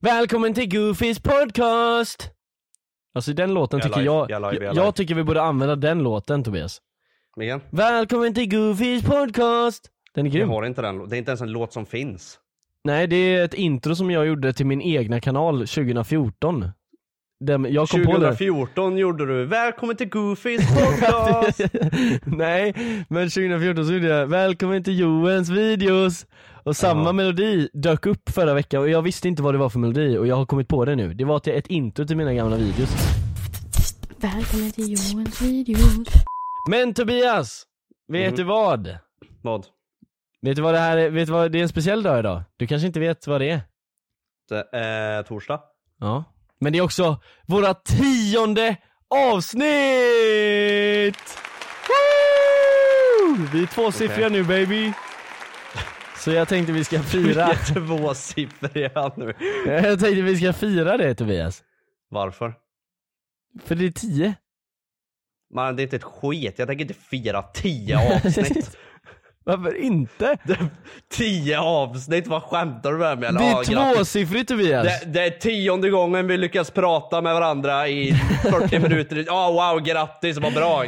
Välkommen till Goofys podcast! Alltså den låten Jag är tycker live, jag, jag är live, jag är jag, live. jag tycker vi borde använda den låten Tobias Megan, Välkommen till Goofys podcast! Den är jag grym. har inte den. Det är inte ens en låt som finns. Nej det är ett intro som jag gjorde till min egna kanal 2014 Den, Jag kom på det 2014 gjorde du Välkommen till Goofys podcast! Nej, men 2014 så gjorde jag 'Välkommen till Joens videos' Och samma Jaha. melodi dök upp förra veckan och jag visste inte vad det var för melodi och jag har kommit på det nu Det var till ett intro till mina gamla videos Välkommen till Johans videos. Men Tobias! Vet Mm. du vad? Vad? Vet du vad det här är? Vet du vad, det är en speciell dag idag. Du kanske inte vet vad det är? Det är torsdag. Ja. Men det är också våra tionde avsnitt! Woo! Vi är tvåsiffriga Okej. nu baby. Så jag tänkte vi ska Vi fira, är tvåsiffriga nu. jag tänkte vi ska fira det Tobias. Varför? För det är tio. Man, det är inte ett skit. Jag tänker inte fira 10 avsnitt. Varför inte? Det, 10 avsnitt? Vad skämtar du med mig? Eller, ja, är grattis. tvåsiffrigt Tobias. det, det är tionde gången vi lyckas prata med varandra i 40 minuter. Ja, wow, grattis, vad bra.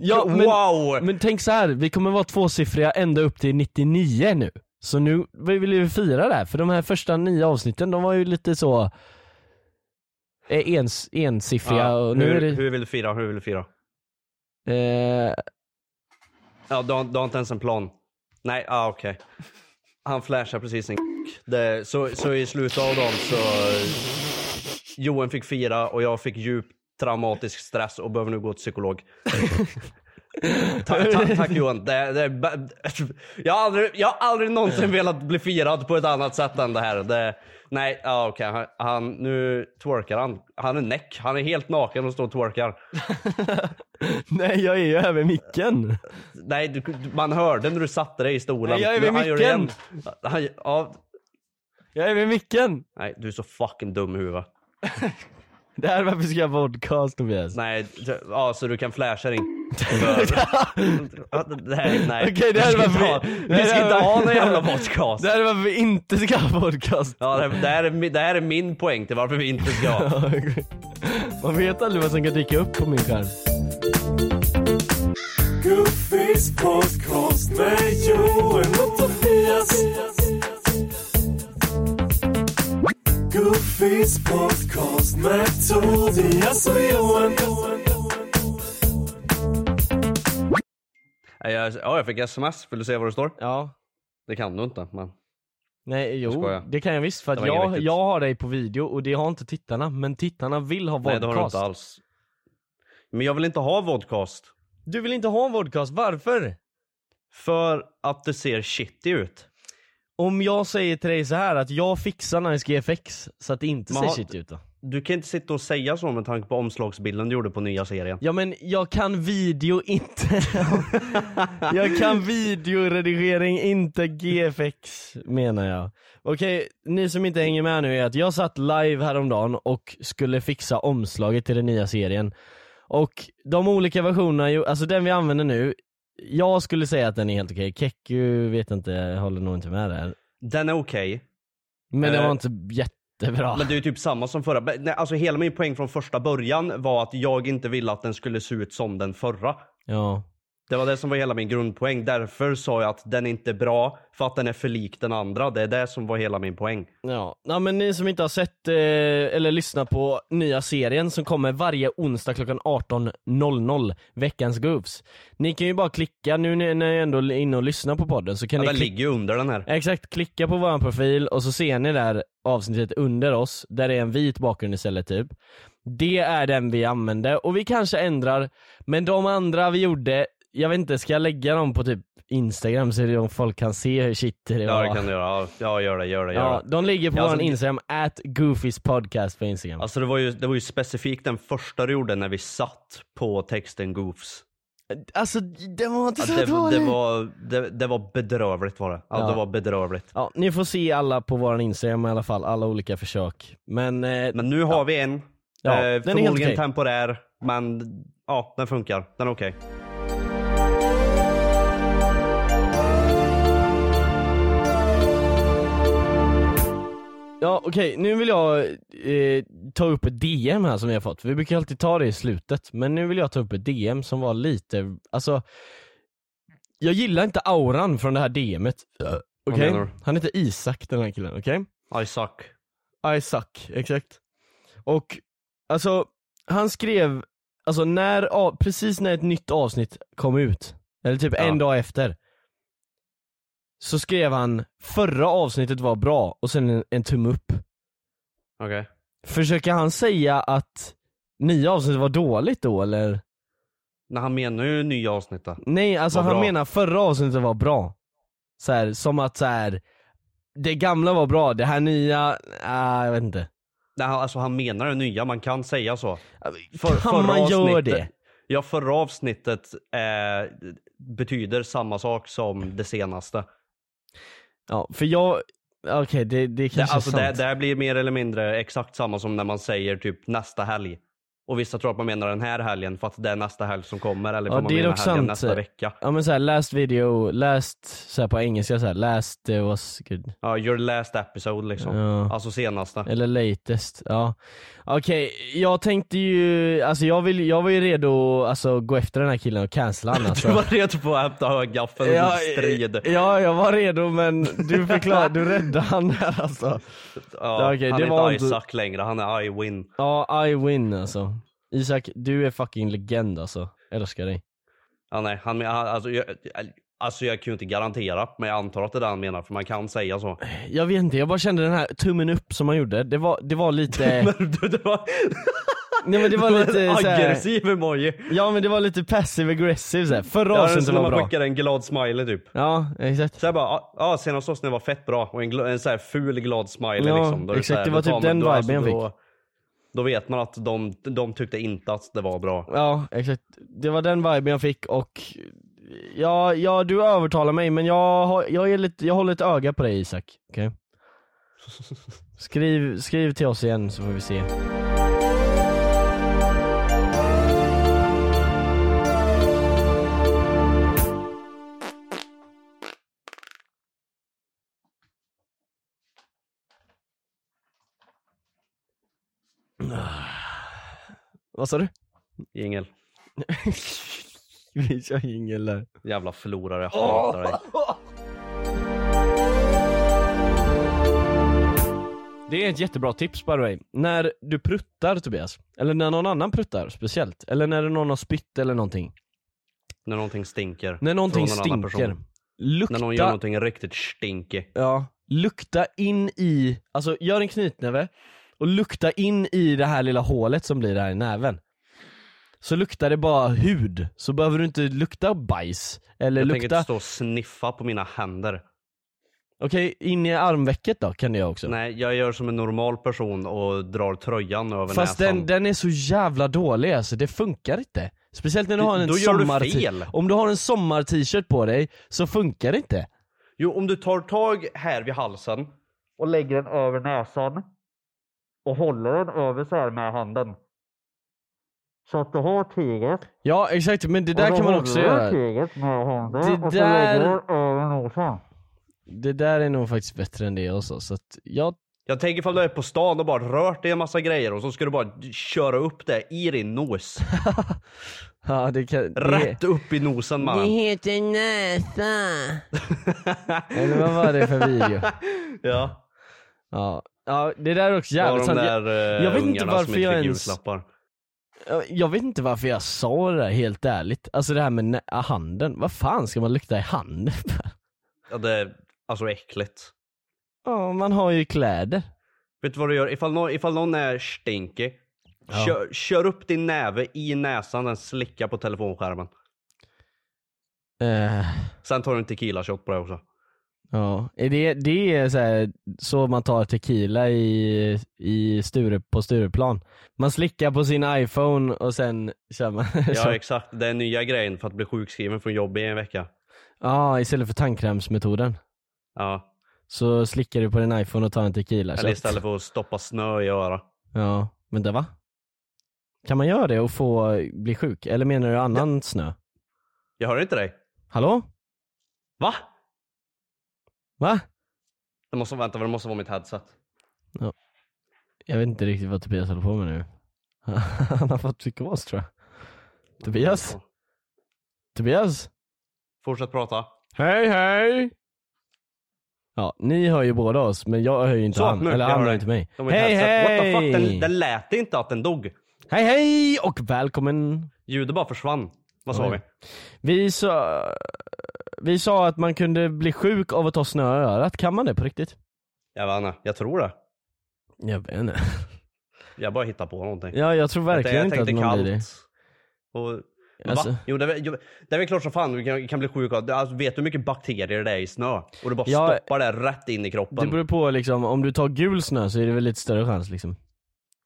Ja, men- wow! Men tänk så här, vi kommer vara tvåsiffriga ända upp till 99 nu. Så nu vill vi fira det här, för de här första nio avsnitten de var ju lite så eh, ens, ensiffriga Ja, och nu hur, är det... hur vill du fira? Hur vill du fira? Eh, Ja, du har, du har inte ens en plan? Nej, ah, okej. Han flashar precis en det, så, så i slutet av dagen så... Johan fick fira och jag fick djup traumatisk stress och behöver nu gå till psykolog. ta, ta, tack Johan. Det, det, ba- jag, har aldrig, jag har aldrig någonsin velat bli firad på ett annat sätt än det här. Det, nej, ah, okej. Han, han, nu twerkar han. Han är näck. Han är helt naken och står och twerkar. nej jag är ju här vid micken. Nej, du, du- man hörde när du satte dig i stolen. Nej, jag är vid Nu, han gör det micken. igen. Han, ja, Jag är vid micken! nej, du är så fucking dum i huvudet. Det här är varför vi ska ha podcast Tobias. Nej, du- ja, så du kan flasha din Ja, det här- Nej, Okej, det här vi ska är inte ha, varför vi- vi ska det här är inte ha varför- någon jävla podcast. Det här är varför vi inte ska ha podcast. Ja, det, här- det, här är, mi- det här är min poäng till varför vi inte ska ha. Man vet aldrig vad som kan dyka upp på min skärm. Nej, jag- Ja, jag fick sms. Vill du se vad det står? Ja. Det kan du inte, men Nej, jo, skojar. det kan jag visst för Det att var inget jag, riktigt. jag har dig på video och det har inte tittarna, men tittarna vill ha nej, vodcast. det har du inte alls. Men jag vill inte ha vodcast. Du vill inte ha en vodcast, varför? För att det ser shitty ut. Om jag säger till dig så här att jag fixar Nice GFX så att det inte Men ser har- shit ut då. Du kan inte sitta och säga så med tanke på omslagsbilden du gjorde på nya serien. Ja men jag kan video inte. jag kan videoredigering, inte GFX menar jag. Okej, ni som inte hänger med nu är att jag satt live häromdagen och skulle fixa omslaget till den nya serien. Och de olika versionerna, ju- alltså den vi använder nu, jag skulle säga att den är helt okej. Keku vet inte, håller nog inte med där. Den är okej, Men den var Eh, inte jättebra. men det är ju typ samma som förra. Men, Nej, alltså hela min poäng från första början var att jag inte ville att den skulle se ut som den förra. Ja. Det var det som var hela min grundpoäng. Därför sa jag att den är inte är bra, för att den är för lik den andra. Det är det som var hela min poäng. Ja, Nej, men ni som inte har sett eh, eller lyssnat på nya serien som kommer varje onsdag klockan 18.00, veckans Goofs. Ni kan ju bara klicka, nu när när ni ändå är inne och lyssnar på podden så kan Ja, ni den klicka ligger ju under den här. Exakt, klicka på vår profil och så ser ni där avsnittet under oss, där det är en vit bakgrund istället typ. Det är den vi använde och vi kanske ändrar, men de andra vi gjorde, jag vet inte, ska jag lägga dem på typ Instagram så att folk kan se hur shit det Ja, var? det kan du göra. Ja, Ja, gör det, gör det, gör Ja, det. de ligger på Ja, vår alltså, det- Instagram, at Goofys podcast på Instagram. Alltså det var, ju, det var ju specifikt den första du gjorde när vi satt på texten Goofs. Alltså den var inte Ja, det, det, var, det, det var bedrövligt var det. Ja, Ja. det var bedrövligt. Ja, ni får se alla på vår Instagram i alla fall, alla olika försök. Men, eh, Men nu har vi en. Ja, den är eh, helt förmodligen okej. temporär, men ja, den funkar. Den är okej. ja okej, nu vill jag eh, ta upp ett DM här som vi har fått. Vi brukar alltid ta det i slutet, men nu vill jag ta upp ett DM som var lite, alltså jag gillar inte auran från det här DMet. Vad Okej? menar du? Han heter Isak den här killen, okej? I suck. I suck, exakt. Och alltså, han skrev, alltså när, a- precis när ett nytt avsnitt kom ut, eller typ en Ja. dag efter, så skrev han 'Förra avsnittet var bra' och sen en, en tumme upp. Okej. Försöker han säga att nya avsnittet var dåligt då eller? Nej, han menar ju nya avsnitt då. Mm, Nej, alltså Var han bra. menar förra avsnittet var bra. Så här, som att så här. det gamla var bra, det här nya, ah, jag vet inte. Nej, han- alltså han menar det nya, man kan säga så. För- kan man göra avsnittet- det? Ja, förra avsnittet eh, betyder samma sak som det senaste. Ja, för jag, okej det, det Det, kanske alltså är sant. det, det här blir mer eller mindre exakt samma som när man säger typ nästa helg. Och vissa tror att man menar den här helgen för att det är nästa helg som kommer eller för Ja, att man det är menar dock helgen sant. nästa vecka. Ja men såhär, last video, last, såhär på engelska såhär, last eh, was good. Ja, your last episode liksom. Ja. Alltså senaste. Eller latest, ja. Okej, jag tänkte ju, alltså jag, vill, jag var ju redo alltså gå efter den här killen och cancella honom Du alltså. var redo på att hämta högaffeln ja, Ja, strid. ja, jag var redo men du förklarade, du räddade han där alltså. Ja, okej, han det är var inte inte- Isaac längre, han är I win. Ja, I win alltså. Isak, du är fucking legend alltså. Älskar dig. Ja, nej, han, han, alltså, jag, alltså jag kan ju inte garantera, men jag antar att det är det han menar för man kan säga så. Jag vet inte, jag bara kände den här tummen upp som han gjorde, det var, det var lite, Men du, det var, nej men det var lite såhär, aggressiv emoji. ja men det var lite passive aggressive såhär. Förra Ja, det är avsnittet som när var man bra. skickar en glad smiley typ. Ja, exakt. Så jag bara, ja ah, senaste avsnittet var fett bra och en, gl- en så här ful glad smiley Ja, liksom. är exakt, så här, det var då tar typ den då- alltså, viben jag Då, då vet man att de, de tyckte inte att det var bra. Ja, exakt. Det var den viben jag fick och Ja, ja du övertalar mig men jag, har, jag, är lite, jag håller ett öga på dig Isak. Okej? Skriv, skriv till oss igen så får vi se. Ah. Vad sa du? Jingel. Vi kör jingel där. Jävla förlorare, jag hatar dig. Det är ett jättebra tips by the way. När du pruttar Tobias, eller när någon annan pruttar speciellt, eller när någon har spytt eller någonting. När någonting stinker. När någonting från en annan person. stinker, lukta, När någon gör någonting riktigt stinky. ja, lukta in i, alltså gör en knytnäve och lukta in i det här lilla hålet som blir där i näven. Så luktar det bara hud, så behöver du inte lukta bajs eller Jag tänker lukta inte stå och sniffa på mina händer. Okej, in i armvecket då kan jag också. Nej, jag gör som en normal person och drar tröjan över Fast näsan. den, den är så jävla dålig alltså, det funkar inte. Speciellt när du Du- har en då gör du sommar fel. Om du har en sommar-t-shirt på dig så funkar det inte. Jo, om du tar tag här vid halsen och lägger den över näsan och håller den över så här med handen. Så att du har tyget. Ja exakt, men det där kan man också göra. tyget med handen Det och så lägger där- den över nosen. Det där är nog faktiskt bättre än det jag sa, så att jag... Jag tänker ifall du är på stan och bara rört dig en massa grejer och så ska du bara köra upp det i din nos. Ja, det kan... det- Rätt upp i nosen mannen. heter näsa. Eller vad var det för video? Ja. Ja, ja det där är också Det var jävligt de sant. där Jag, eh, vet inte ungarna varför som inte jag fick ens- julklappar. jag vet inte varför jag sa det där helt ärligt. Alltså det här med nä- handen. Vad fan ska man lukta i handen för? Ja, det är alltså äckligt. Ja, man har ju kläder. Vet du vad du gör? Ifall någon, ifall någon är stinkig, Ja. kör, kör upp din näve i näsan, den slickar på telefonskärmen. Eh, Sen tar du en tequila shot på det också. ja, är det, det är så, här, så man tar tequila i, i Sture, på Stureplan. Man slickar på sin iPhone och sen kör man. Ja Ja, exakt, det är nya grejen för att bli sjukskriven från jobb i en vecka. istället för tandkrämsmetoden. Ja. Så slickar du på din iPhone och tar en tequila Eller istället för att stoppa snö i örat. Ja, men det va? Kan man göra det och få bli sjuk? Eller menar du annan snö? Jag hör inte dig. Hallå? Va? Va? Det måste, vänta, det måste vara mitt headset. Jag vet inte riktigt vad Tobias håller på med nu. Han har fått psykos tror jag. Tobias? Tobias? Fortsätt prata. Hej hej! Ja, ni hör ju båda oss men jag hör ju inte Så, han. nu, Eller jag han hör hör dig. inte mig. Det var mitt Hej headset. What the fuck, den, hej! den lät inte att den dog. Hej hej och välkommen! Ljudet bara försvann. Vad Oj. sa vi? Vi sa, vi sa att man kunde bli sjuk av att ta snö i örat. Kan man det på riktigt? Jag vet inte, jag tror det. Jag vet inte. Jag bara hittar på någonting. Ja jag tror verkligen jag inte tänkte att man kallt. blir det. Och, men Alltså- va? Jo, det, är väl- jo, det är väl klart som fan du kan, kan bli sjuk av. Alltså, vet du hur mycket bakterier det är i snö? Och du bara Ja, stoppar det rätt in i Det kroppen. beror på liksom, om du tar gul snö så är det väl lite större chans liksom.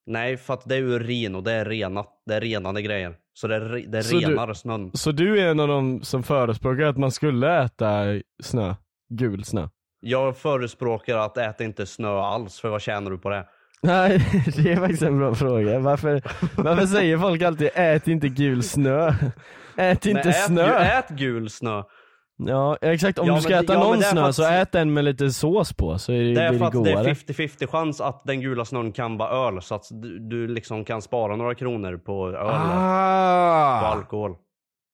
Nej, för att det är urin och det är, renat, det är renande grejer. Så det, re- det Så du- renar snön. Så du är en av de som förespråkar att man skulle äta snö? Gul snö? Jag förespråkar att äta inte snö alls, för vad tjänar du på det? Nej, det är faktiskt en bra fråga. Varför, varför säger folk alltid ät inte gul snö? Ät inte Nej, ät, snö! ju- Ät gul snö. Ja exakt, om Ja, du men ska det- äta ja, men någon det är för snö att- så ät den med lite sås på så är det, Det är blir för det att det godare. är 50-50 chans att den gula snön kan vara öl. Så att du, du liksom kan spara några kronor på öl och ah! alkohol.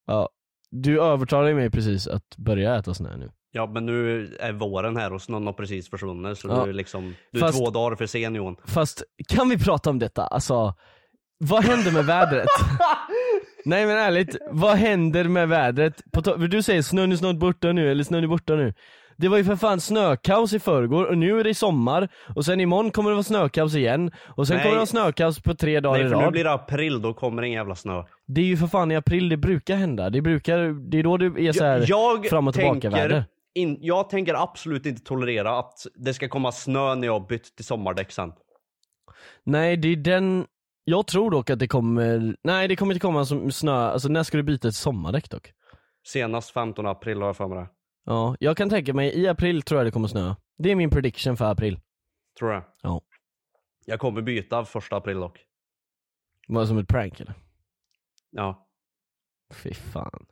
ja, du övertalade mig precis att börja äta snö nu. Ja men nu är våren här och snön har precis försvunnit så Ja. du är liksom, du Fast- är två dagar för sen Johan. Fast kan vi prata om detta? Alltså, vad händer med vädret? Nej men ärligt, vad händer med vädret? På to- du säger snön är snart borta nu, eller snön är borta nu. Det var ju för fan snökaos i förrgår och nu är det sommar och sen imorgon kommer det vara snökaos igen och sen Nej. kommer det vara snökaos på tre dagar Nej i för nu rad. blir det april, då kommer det ingen jävla snö. Det är ju för fan i april det brukar hända. Det, brukar, det är då det är så här fram och tillbaka väder. in, jag tänker absolut inte tolerera att det ska komma snö när jag har bytt till sommardäck sen. Nej det är den, jag tror dock att det kommer, nej det kommer inte komma som snö, alltså när ska du byta till sommardäck dock? Senast 15 april har jag för mig det. Ja, jag kan tänka mig i april tror jag det kommer snöa. Det är min prediction för april. Tror jag. Ja. Jag kommer byta första april dock. Var det som ett prank eller? Ja. Fy fan.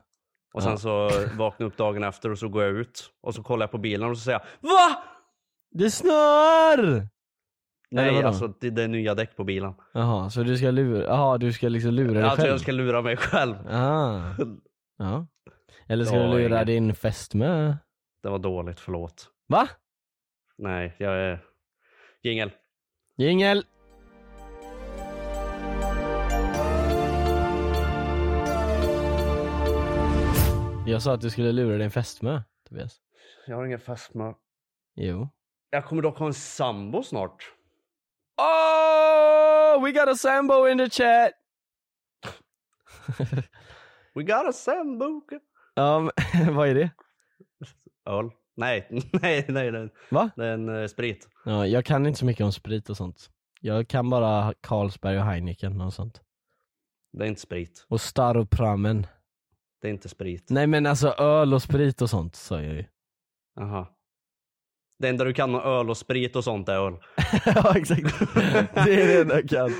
Ja. Och sen så vaknar jag upp dagen efter och så går jag ut och så kollar jag på bilen och så säger jag VA? Det snöar! Eller Nej vadå? alltså det, det är nya däck på bilen. Jaha, så du ska lura, jaha du ska liksom lura dig Alltså själv? jag ska lura mig själv. Ah. Ja. Eller ska Ja, du lura ingen- din fästmö? Det var dåligt, förlåt. Va? Nej, jag är... Jingel. Jingel! Jag sa att du skulle lura din fästmö, Tobias. Jag har ingen fästmö. Jo. Jag kommer dock ha en sambo snart. Oh, we got a sambo in the chat! We got a sambo. Ja, men, vad är det? Öl. Nej, nej, nej. nej. Va? Det är en eh, sprit. Ja, jag kan inte så mycket om sprit och sånt. Jag kan bara Carlsberg och Heineken och sånt. Det är inte sprit. Och Staropramen. Det är inte sprit. Nej men alltså öl och sprit och sånt sa jag ju. Jaha. Det enda du kan om öl och sprit och sånt är öl. ja exakt. Det är det enda jag kan.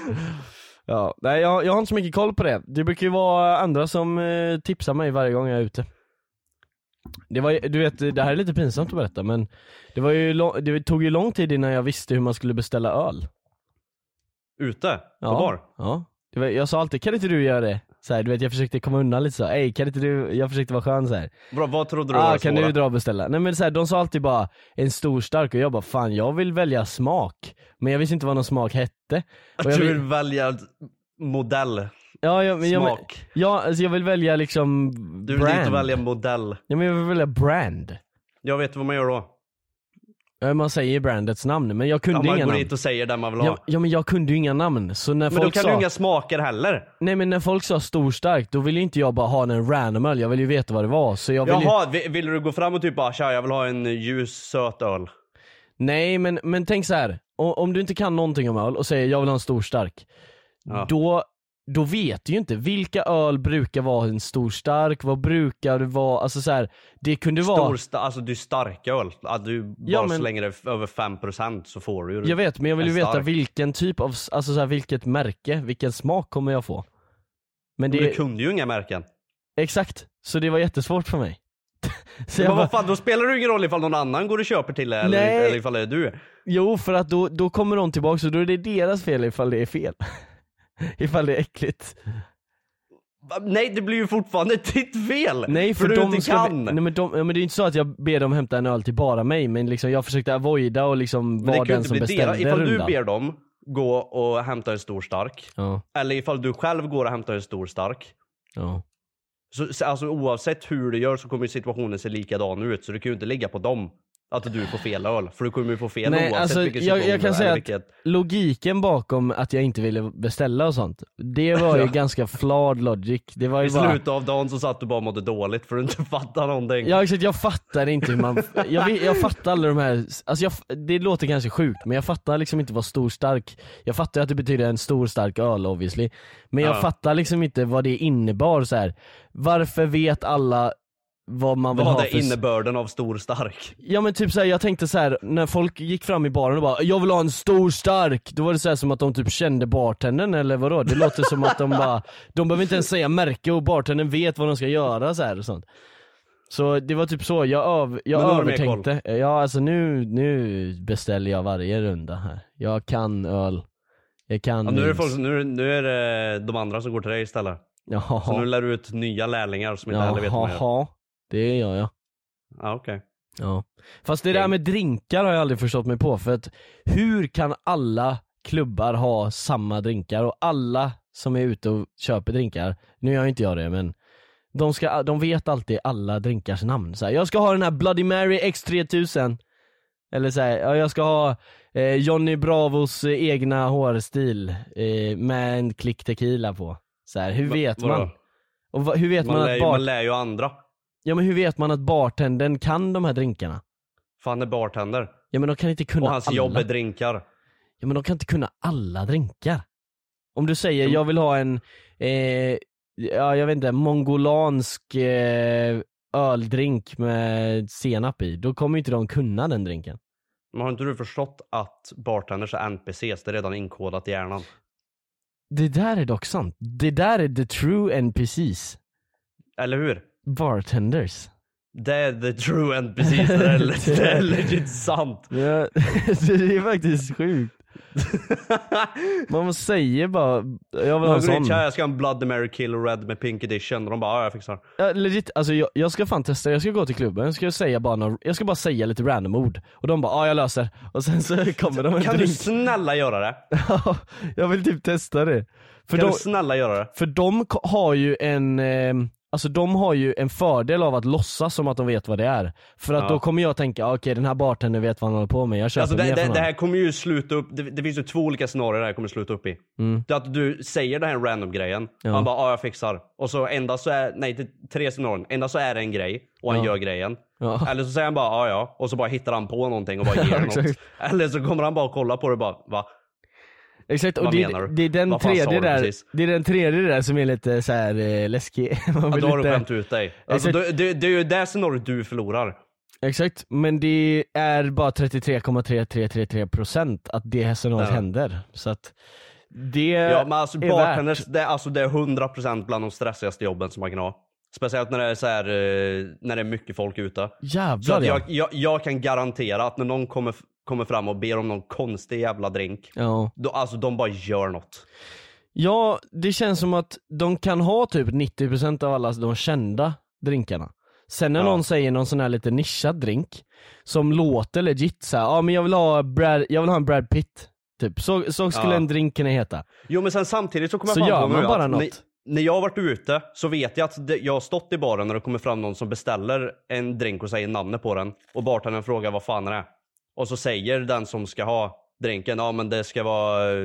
Ja, nej jag, jag har inte så mycket koll på det. Det brukar ju vara andra som eh, tipsar mig varje gång jag är ute. Det var ju- du vet, det här är lite pinsamt att berätta men det, var ju lång, det tog ju lång tid innan jag visste hur man skulle beställa öl. Ute? På bar? Ja. Det var, jag sa alltid 'Kan inte du göra det?' Så här, du vet jag försökte komma undan lite så, Ey, kan inte du, jag försökte vara skön så här. Bra, vad trodde du var Ah, det kan svåra? du dra och beställa? Nej men så här, de sa alltid bara en stor stark och jag bara fan jag vill välja smak. Men jag visste inte vad någon smak hette. Och jag vill- Du vill välja modell. Ja, jag, men jag, Smak. Ja, alltså jag vill välja liksom Du vill brand. inte välja modell. Ja, men jag vill välja brand. Jag vet vad man gör då. Ja, man säger brandets namn, men jag Ja, kunde man inga går namn. dit och säger det man vill ha. Ja, ja men jag kunde ju inga namn, så när men då folk kan sa, du inga smaker heller. nej men när folk sa stor stark, då ville ju inte jag bara ha en random öl, jag ville ju veta vad det var. Så jag ville ju... Jaha, vi- vill du gå fram och typ bara tja jag vill ha en ljus söt öl. Nej men, men tänk så här. O- om du inte kan någonting om öl och säger jag vill ha en stor stark, Ja. då, då vet du ju inte vilka öl brukar vara en stor stark, vad brukar det vara, alltså så här, det kunde vara... Stor, sta- alltså du är stark öl. Att du bara Ja, men- slänger det f- över 5% så får du ju Jag vet men jag vill ju en veta stark. vilken typ av, alltså så här, vilket märke, vilken smak kommer jag få? Men Men det, Du kunde ju inga märken. exakt, så det var jättesvårt för mig. så jag Men bara, vad fan, då spelar det ju ingen roll ifall någon annan går och köper till det eller, Nej. eller ifall det är du. jo för att då, då kommer de tillbaka och då är det deras fel ifall det är fel. ifall det är äckligt. Va? Nej, det blir ju fortfarande ditt fel! Nej för, du de inte ska, kan! Nej, men de, ja, men det är ju inte så att jag ber dem hämta en öl till bara mig men liksom jag försökte avoida och liksom Men det vara kan ju den inte som bli deras. beställde Ifall du rundan. ber dem gå och hämta en stor stark, Ja, eller ifall du själv går och hämtar en stor stark, ja. så, så, alltså, oavsett hur du gör så kommer ju situationen se likadan ut. Så du kan ju inte ligga på dem att du får fel öl. För du kommer ju få fel Nej oavsett alltså vilken jag, situation jag kan det är, säga att vilket... logiken bakom att jag inte ville beställa och sånt, det var ju ganska flawed logic. Det var ju I bara... slutet av dagen så satt du bara och mådde dåligt för du inte fattade någonting. Ja exakt, jag fattar inte hur man, jag, vet- jag fattar alla de här, alltså jag, det låter kanske sjukt men jag fattar liksom inte vad stor stark, jag fattar ju att det betyder en stor stark öl obviously. Men jag Ja. fattar liksom inte vad det innebar så här. varför vet alla vad man vill Vad ha är för... innebörden av stor stark? Ja men typ såhär, jag tänkte så här när folk gick fram i baren och bara 'Jag vill ha en stor stark' Då var det så här som att de typ kände bartendern eller vadå? Det låter som att de bara, de behöver inte ens säga märke och bartendern vet vad de ska göra så här och sånt Så det var typ så, jag, öv, jag Men nu har du mer övertänkte, ja alltså nu, nu beställer jag varje runda här Jag kan öl, jag kan Ja, nu, är det vins. folk, som- nu, är- nu är det de andra som går till dig istället. Jaha, Så nu lär du ut nya lärlingar som inte heller vet vad man gör. jaha, det gör jag Ja, okej. Ja. Fast det där med drinkar har jag aldrig förstått mig på för att hur kan alla klubbar ha samma drinkar och alla som är ute och köper drinkar, nu gör inte jag det men de, ska, de vet alltid alla drinkars namn. Så här, jag ska ha den här Bloody Mary X3000 eller så här, ja, jag ska ha eh, Johnny Bravos eh, egna hårstil eh, med en klick tequila på. Så här, hur vet vadå? man? Och va, hur vet man, Man, lär, att ju- bar- man lär ju andra. ja, men hur vet man att bartendern kan de här drinkarna? Fan är bartender. Ja men de kan inte kunna Och hans alla. jobb är drinkar. Ja men de kan inte kunna alla drinkar. Om du säger jag vill ha en, eh, ja jag vet inte, mongolansk eh, öldrink med senap i, då kommer ju inte de kunna den drinken. Men har inte du förstått att bartenders är NPCs? Det är redan inkodat i hjärnan. Det där är dock sant. Det där är the true NPCs. Eller hur? Bartenders. Det är the true NPCs. Det är, det är legit sant. Ja, det är faktiskt sjukt. Man säger bara, jag vill ha Man en går sån. dit, "Tja, jag ska ha en Bloody Mary Kill Red med Pink Edition. Och de bara, ja jag fixar. Ja, legit, alltså jag, jag ska fan testa, jag ska gå till klubben, jag ska, säga bara några, jag ska bara säga lite random ord Och de bara ja jag löser, och sen så kommer de med Kan en du drink snälla göra det? Ja, Jag vill typ testa det För, Kan de, du snälla göra det? för de ko- har ju en, eh, alltså de har ju en fördel av att låtsas som att de vet vad det är För att Ja. då kommer jag tänka, "Ah, okej den här bartendern vet vad han håller på med, jag köper Alltså det, mer det, från det honom." här kommer ju sluta upp, det, det finns ju två olika scenarier det här kommer sluta upp i. Det är att du säger den här random grejen, Ja. han bara ja jag fixar. Och så endast så är, nej det är tre scenarion. Endast så är det en grej och han Ja. gör grejen. Ja. Eller så säger han bara ja ja och så bara hittar han på någonting och bara ger något. Exakt. Eller så kommer han bara kolla på det och bara va? Exakt, och Vad det, menar du? det, är den Vad fan sa tredje du där, precis? det är den tredje där som är lite så här eh, läskig. Man Ja, vill då har du inte- skämt ut dig. Alltså, Exakt. det, det, det är ju det scenariot du förlorar. Eh, Exakt, men det är bara 33,3333% att det här scenariot Ja. händer. Så att det Ja, men alltså är bartenders, värt. det, är- alltså, det är 100% bland de stressigaste jobben som man kan ha. Speciellt när det är, så här, eh, när det är mycket folk ute. Så Jävlar att ja. jag, jag, jag kan garantera att när någon kommer, f- kommer fram och ber om någon konstig jävla drink, ja. då, alltså de bara gör något. Ja, det känns som att de kan ha typ 90% av alla de kända drinkarna. Sen när Ja. någon säger någon sån här lite nischad drink som låter legit såhär, ja men jag vill ha, Brad, jag vill ha en Brad Pitt. Typ, så, så skulle Ja. en drink kunna heta. Jo men sen samtidigt så kommer Så jag gör fram på man nu bara att något. När, när jag har varit ute så vet jag att det, jag har stått i baren när det kommer fram någon som beställer en drink och säger namnet på den. Och bartendern frågar vad fan är det? Och så säger den som ska ha drinken, ja men det ska vara eh,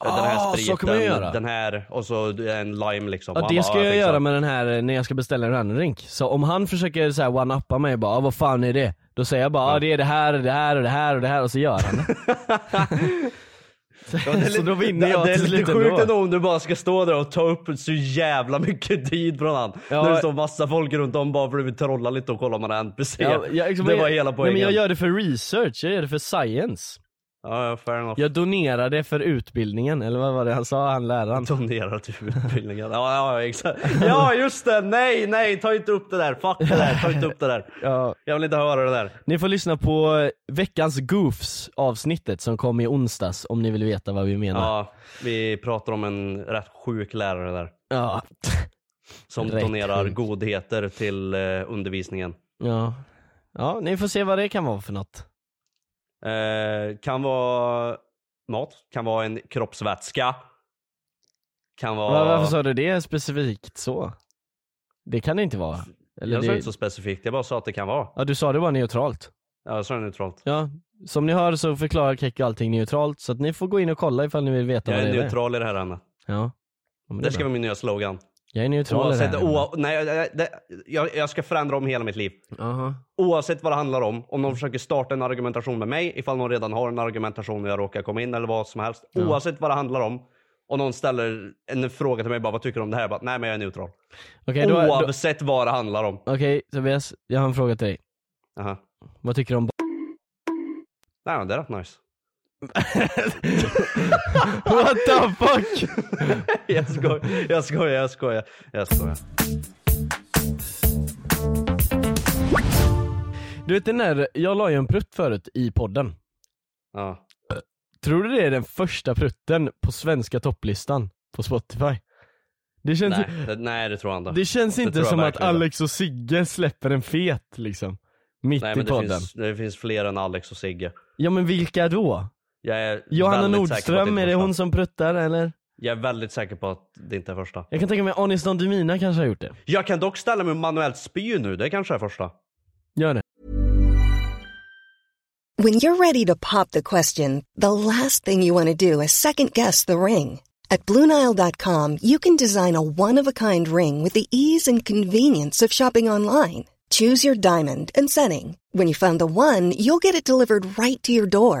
den Ah, här så kan man spriten, göra. den här och så en lime liksom. Ja Och han det bara, ska jag fixar. göra med den här eh, när jag ska beställa en annan drink. Så om han försöker så här one-uppa mig bara, ah, vad fan är det? Då säger jag bara, ah, det är det här, det här och det här och det här och så gör han det. Ja, det är Så lite- då vinner jag Det är till lite slut sjukt ändå. ändå om du bara ska stå där och ta upp så jävla mycket tid från han. Ja. När det står massa folk runt om bara för att vi trollar lite och kollar om han är NPC. jag- liksom, det jag- var hela poängen. Nej, men jag gör det för research, jag gör det för science. Ja, ja, fair enough. Jag donerade för utbildningen, eller vad var det han sa, han läraren? Donerar till utbildningen. Ja, ja, ja, exakt. ja just det, nej, nej, ta inte upp det där. Fuck det där, ta inte upp det där. Ja, Jag vill inte höra det där. ni får lyssna på eh, veckans Goofs avsnittet som kom i onsdags om ni vill veta vad vi menar. Ja, vi pratar om en rätt sjuk lärare där. Ja. Som Rätt donerar sjuk. godheter till eh, undervisningen. ja. Ja, ni får se vad det kan vara för något. Eh, kan vara mat, kan vara en kroppsvätska. Kan vara... Va- Varför sa du det specifikt så? Det kan det inte vara. Eller jag sa det... inte så specifikt, jag bara sa att det kan vara. Ja, du sa det bara neutralt. Ja, Jag sa det neutralt. Ja, som ni hör så förklarar Kekko allting neutralt så att ni får gå in och kolla ifall ni vill veta Jag vad är det är. neutral i det här ämnet. Ja. Ja, men Det det ska ska vara min nya slogan. Jag är neutral i det Oavsett, här. oa, nej, det, det, jag, jag ska förändra om hela mitt liv. Aha. Oavsett vad det handlar om, om någon försöker starta en argumentation med mig, ifall någon redan har en argumentation och jag råkar komma in eller vad som helst. Oavsett vad det handlar om, och någon ställer en fråga till mig bara vad tycker du om det här? Jag bara, nej men jag är neutral. Okej, då, då, Oavsett vad det handlar om. Okej Tobias, jag har en fråga till dig. Aha. Vad tycker du om Nej men det är rätt nice. What the fuck? Jag skojar, jag skojar, jag skojar. Jag skojar. Du vet den där, jag la ju en prutt förut i podden. Ja. Tror du det är den första prutten på svenska topplistan på Spotify? Det känns, Nej, det, nej det tror jag inte. det känns det inte tror jag som att verkligen. Alex och Sigge släpper en fet liksom. Mitt nej, i men det, podden. finns, det finns fler än Alex och Sigge. Ja men vilka då? Jag är Johanna väldigt säker på Nordström, att inte är det första. hon som pruttar eller? Jag är väldigt säker på att det inte är första. Jag kan tänka mig Anis Don Demina kanske har gjort det. Jag kan dock ställa mig och manuellt spy nu, det kanske är första. Gör det. When you're ready to pop the question, the last thing you want to do is second guess the ring. At Bluenile.com, you can design a one of a kind ring with the ease and convenience of shopping online. Choose your diamond and setting. When you find the one, you'll get it delivered right to your door.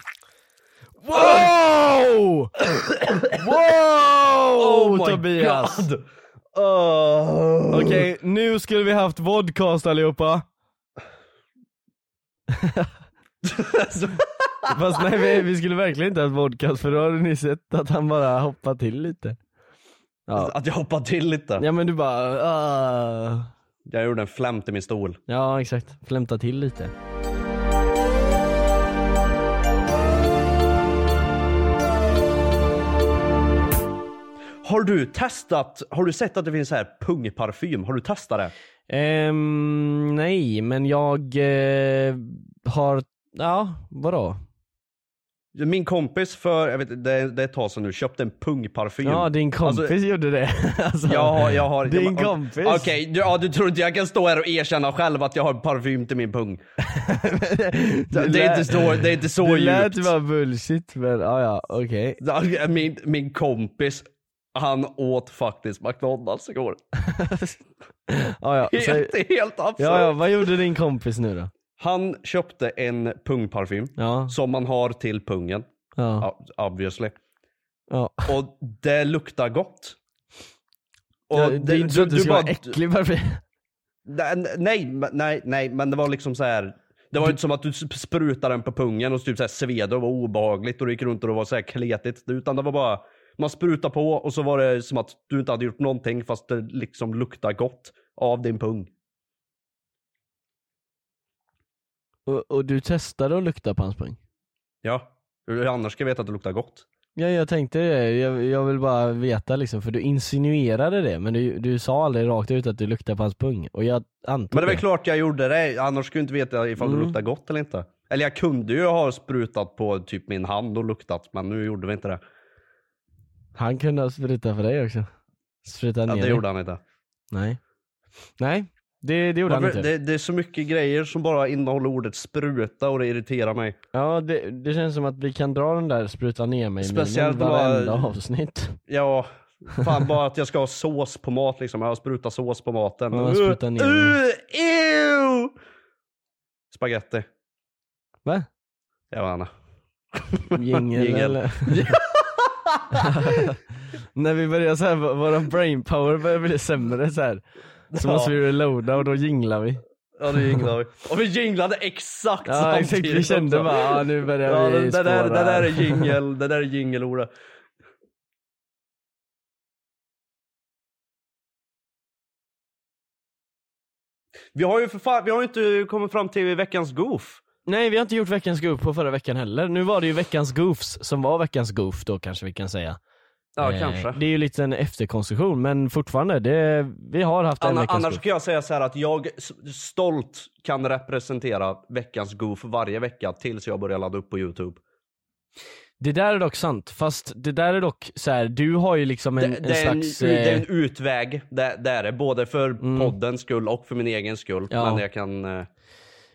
Wow! Wow Tobias! Oh god! Oh. Okej, nu skulle vi haft vodcast allihopa. Fast nej vi, vi skulle verkligen inte ha ett podcast för då hade ni sett att han bara hoppar till lite. Ja, Att jag hoppade till lite. ja men du bara ah. Jag gjorde en flämt i min stol. Ja exakt, flämta till lite. Har du testat, har du sett att det finns så här pungparfym? Har du testat det? Ehm, nej men jag eh, har, ja vadå? Min kompis för, jag vet, det, det är ett tag sedan nu, köpte en pungparfym. Ja din kompis Alltså, gjorde det. Alltså, jag har, jag har, din jag- kompis. Okej, du, ja, du tror inte jag kan stå här och erkänna själv att jag har parfym till min pung? det, det, är inte så, det är inte så Det djupt. lät ju bara bullshit men ja ja okej. Ja, Min, min kompis, han åt faktiskt McDonalds igår. Ah, Ja, ja. Så, Helt, helt absurt. ja, ja, vad gjorde din kompis nu då? Han köpte en pungparfym Ja. som man har till pungen. Ja. Ja, Obviously. ja. Och det luktar gott. Och det, det är inte så att du, ska vara bara- äcklig varför? Nej, Nej, men- nej, nej, men det var liksom så här. Det var ju inte som att du sp- sprutade den på pungen och så typ så här sved och var obehagligt och du gick runt och det var så här kletigt. Utan det var bara, man sprutade på och så var det som att du inte hade gjort någonting fast det liksom luktade gott av din pung. Och, och du testade att lukta på hans pung? Ja. Hur annars ska jag veta att det luktar gott? Ja jag tänkte det, jag, jag vill bara veta liksom för du insinuerade det men du, du sa aldrig rakt ut att du luktade på hans pung och jag antog Men det var klart jag gjorde det, annars skulle jag inte veta ifall Mm. det luktar gott eller inte. Eller jag kunde ju ha sprutat på typ min hand och luktat, men nu gjorde vi inte det. Han kunde ha sprutat för dig också. Sprutat Ja, ner det dig. gjorde han inte. Nej. Nej, det, det gjorde han Varför, inte. det, det är så mycket grejer som bara innehåller ordet spruta och det irriterar mig. Ja det, det känns som att vi kan dra den där spruta ner mig Speciellt Speciellt om man- varenda avsnitt. Ja, fan bara att jag ska ha sås på mat liksom. Jag sprutar sås på maten. Ja, spruta ner. Uh, ew! Spaghetti. Va? Jag vet inte. Jingel Jingel. eller? När vi börjar såhär, våran brain power börjar bli sämre såhär. Så Ja. måste vi reloada och då jinglar vi. Ja, det jinglade vi. Och vi jinglade exakt Ja samtidigt. exakt, vi kände också. bara ja, nu börjar Ja, vi det, det, där, det spåra där är här. jingel, det där är jingelordet. Vi har ju för fan, vi har ju inte kommit fram till veckans goof. Nej vi har inte gjort veckans goof på förra veckan heller. Nu var det ju veckans goofs som var veckans goof då kanske vi kan säga. Ja, Eh, kanske. Det är ju lite en efterkonstruktion men fortfarande, det, vi har haft en Anna, veckans annars goof. kan jag säga så här att jag s- stolt kan representera veckans goof varje vecka tills jag börjar ladda upp på Youtube. Det där är dock sant, fast det där är dock så här, du har ju liksom en, det, en det, är en, slags... u- det är eh, Mm. en utväg, det, det är det. Både för poddens skull och för min egen skull. Ja. Men jag kan... eh,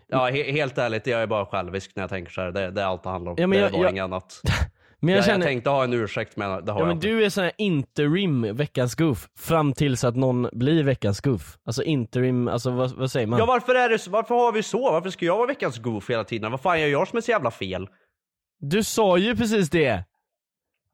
Ja, he, helt ärligt, jag är bara självisk när jag tänker så här. Det, det är allt det handlar om. Ja, men det jag- var jag- inget annat. men Jag, jag jag, känner, tänkte ha en ursäkt, men det har ja, jag men inte. du är sån här interim veckans goof, fram tills att någon blir veckans goof. Alltså interim, alltså vad, vad säger man? Ja, varför, är det, så- varför har vi så? Varför ska jag vara veckans goof hela tiden? Vad fan gör jag som är så jävla fel? Du sa ju precis det!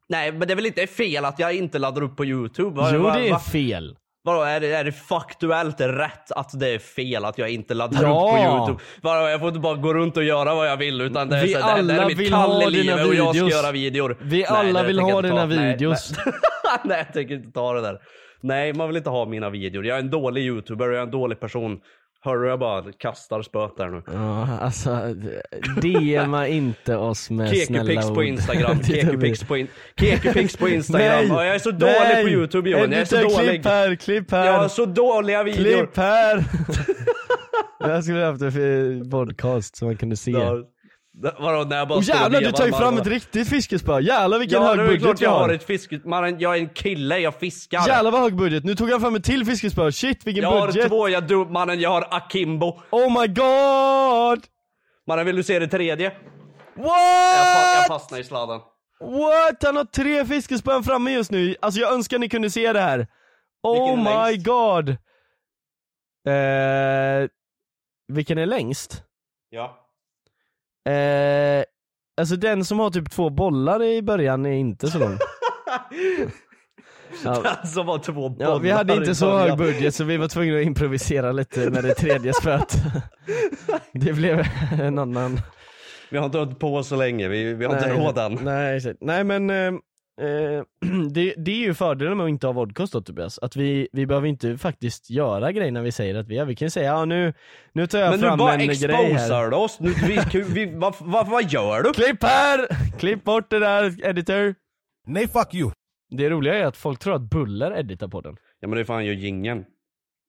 Nej, men det är väl inte fel att jag inte laddar upp på Youtube? Vad- jo vad- det är vad- fel. Vadå, är det, är det faktuellt rätt att det är fel att jag inte laddar upp Ja. på Youtube? Vadå, jag får inte bara gå runt och göra vad jag vill utan det är, Vi så, här, det, här- det här alla är mitt vill kall ha i livet dina och jag ska videos. göra videor. Vi Nej, alla det vill tänker ha jag inte dina ta. Nej, videos. Nej, nej, jag tänker inte ta det där. Nej, man vill inte ha mina videor. Jag är en dålig youtuber och jag är en dålig person. Hör du, jag bara kastar spöet där nu. Ja, alltså DMa inte oss med snälla Kekupix ord. på Instagram, Det är Kekupix vi. på, in- Kekupix på Instagram. Ja, jag är så dålig nej. på youtube Johan, jag är så Edita, dålig. Klipp här, klipp här. Jag har så dåliga videor. Klipp här! jag skulle haft en f- podcast som man kunde se. Ja. Det- Vadå, när jag bara Och står och jävlar du vevar tar ju med fram alla. ett riktigt fiskespö, jävlar vilken Ja, det hög är budget klart vi jag har har. ett fiske... Man, jag är en kille, jag fiskar. Jävlar vad hög budget, nu tog han fram ett till fiskespö, shit vilken jag har budget! två, jag dum, mannen, jag har akimbo. Oh my god! Mannen, vill du se det tredje? Jag, fa- jag What? fastnar i sladden. What? Han har tre fiskespön framme just nu, alltså jag önskar ni kunde se det här. Oh Vilken är my längst? god! Eh, vilken är längst? Ja. Eh, alltså den som har typ två bollar i början är inte så lång. ja, Den som var två bollar ja, vi hade i inte så början. hög budget så vi var tvungna att improvisera lite med det tredje spöet. det blev en annan Vi har inte hållit på så länge, vi, vi har inte Nej, råd än. Nej, exakt. nej men ehm, eh, det, det är ju fördelen med att inte ha vodkost då Tobias, att vi, vi behöver inte faktiskt göra grejerna vi säger att vi gör. Vi kan ju säga ja nu, nu tar jag Men du fram bara en grej här. exposar du oss. Nu, vi, vi, vad, vad, vad gör du? Klipp här! Klipp bort det där editor! Nej, fuck you. Det roliga är att folk tror att Bullar editar podden. Ja men det är fan ju gingen.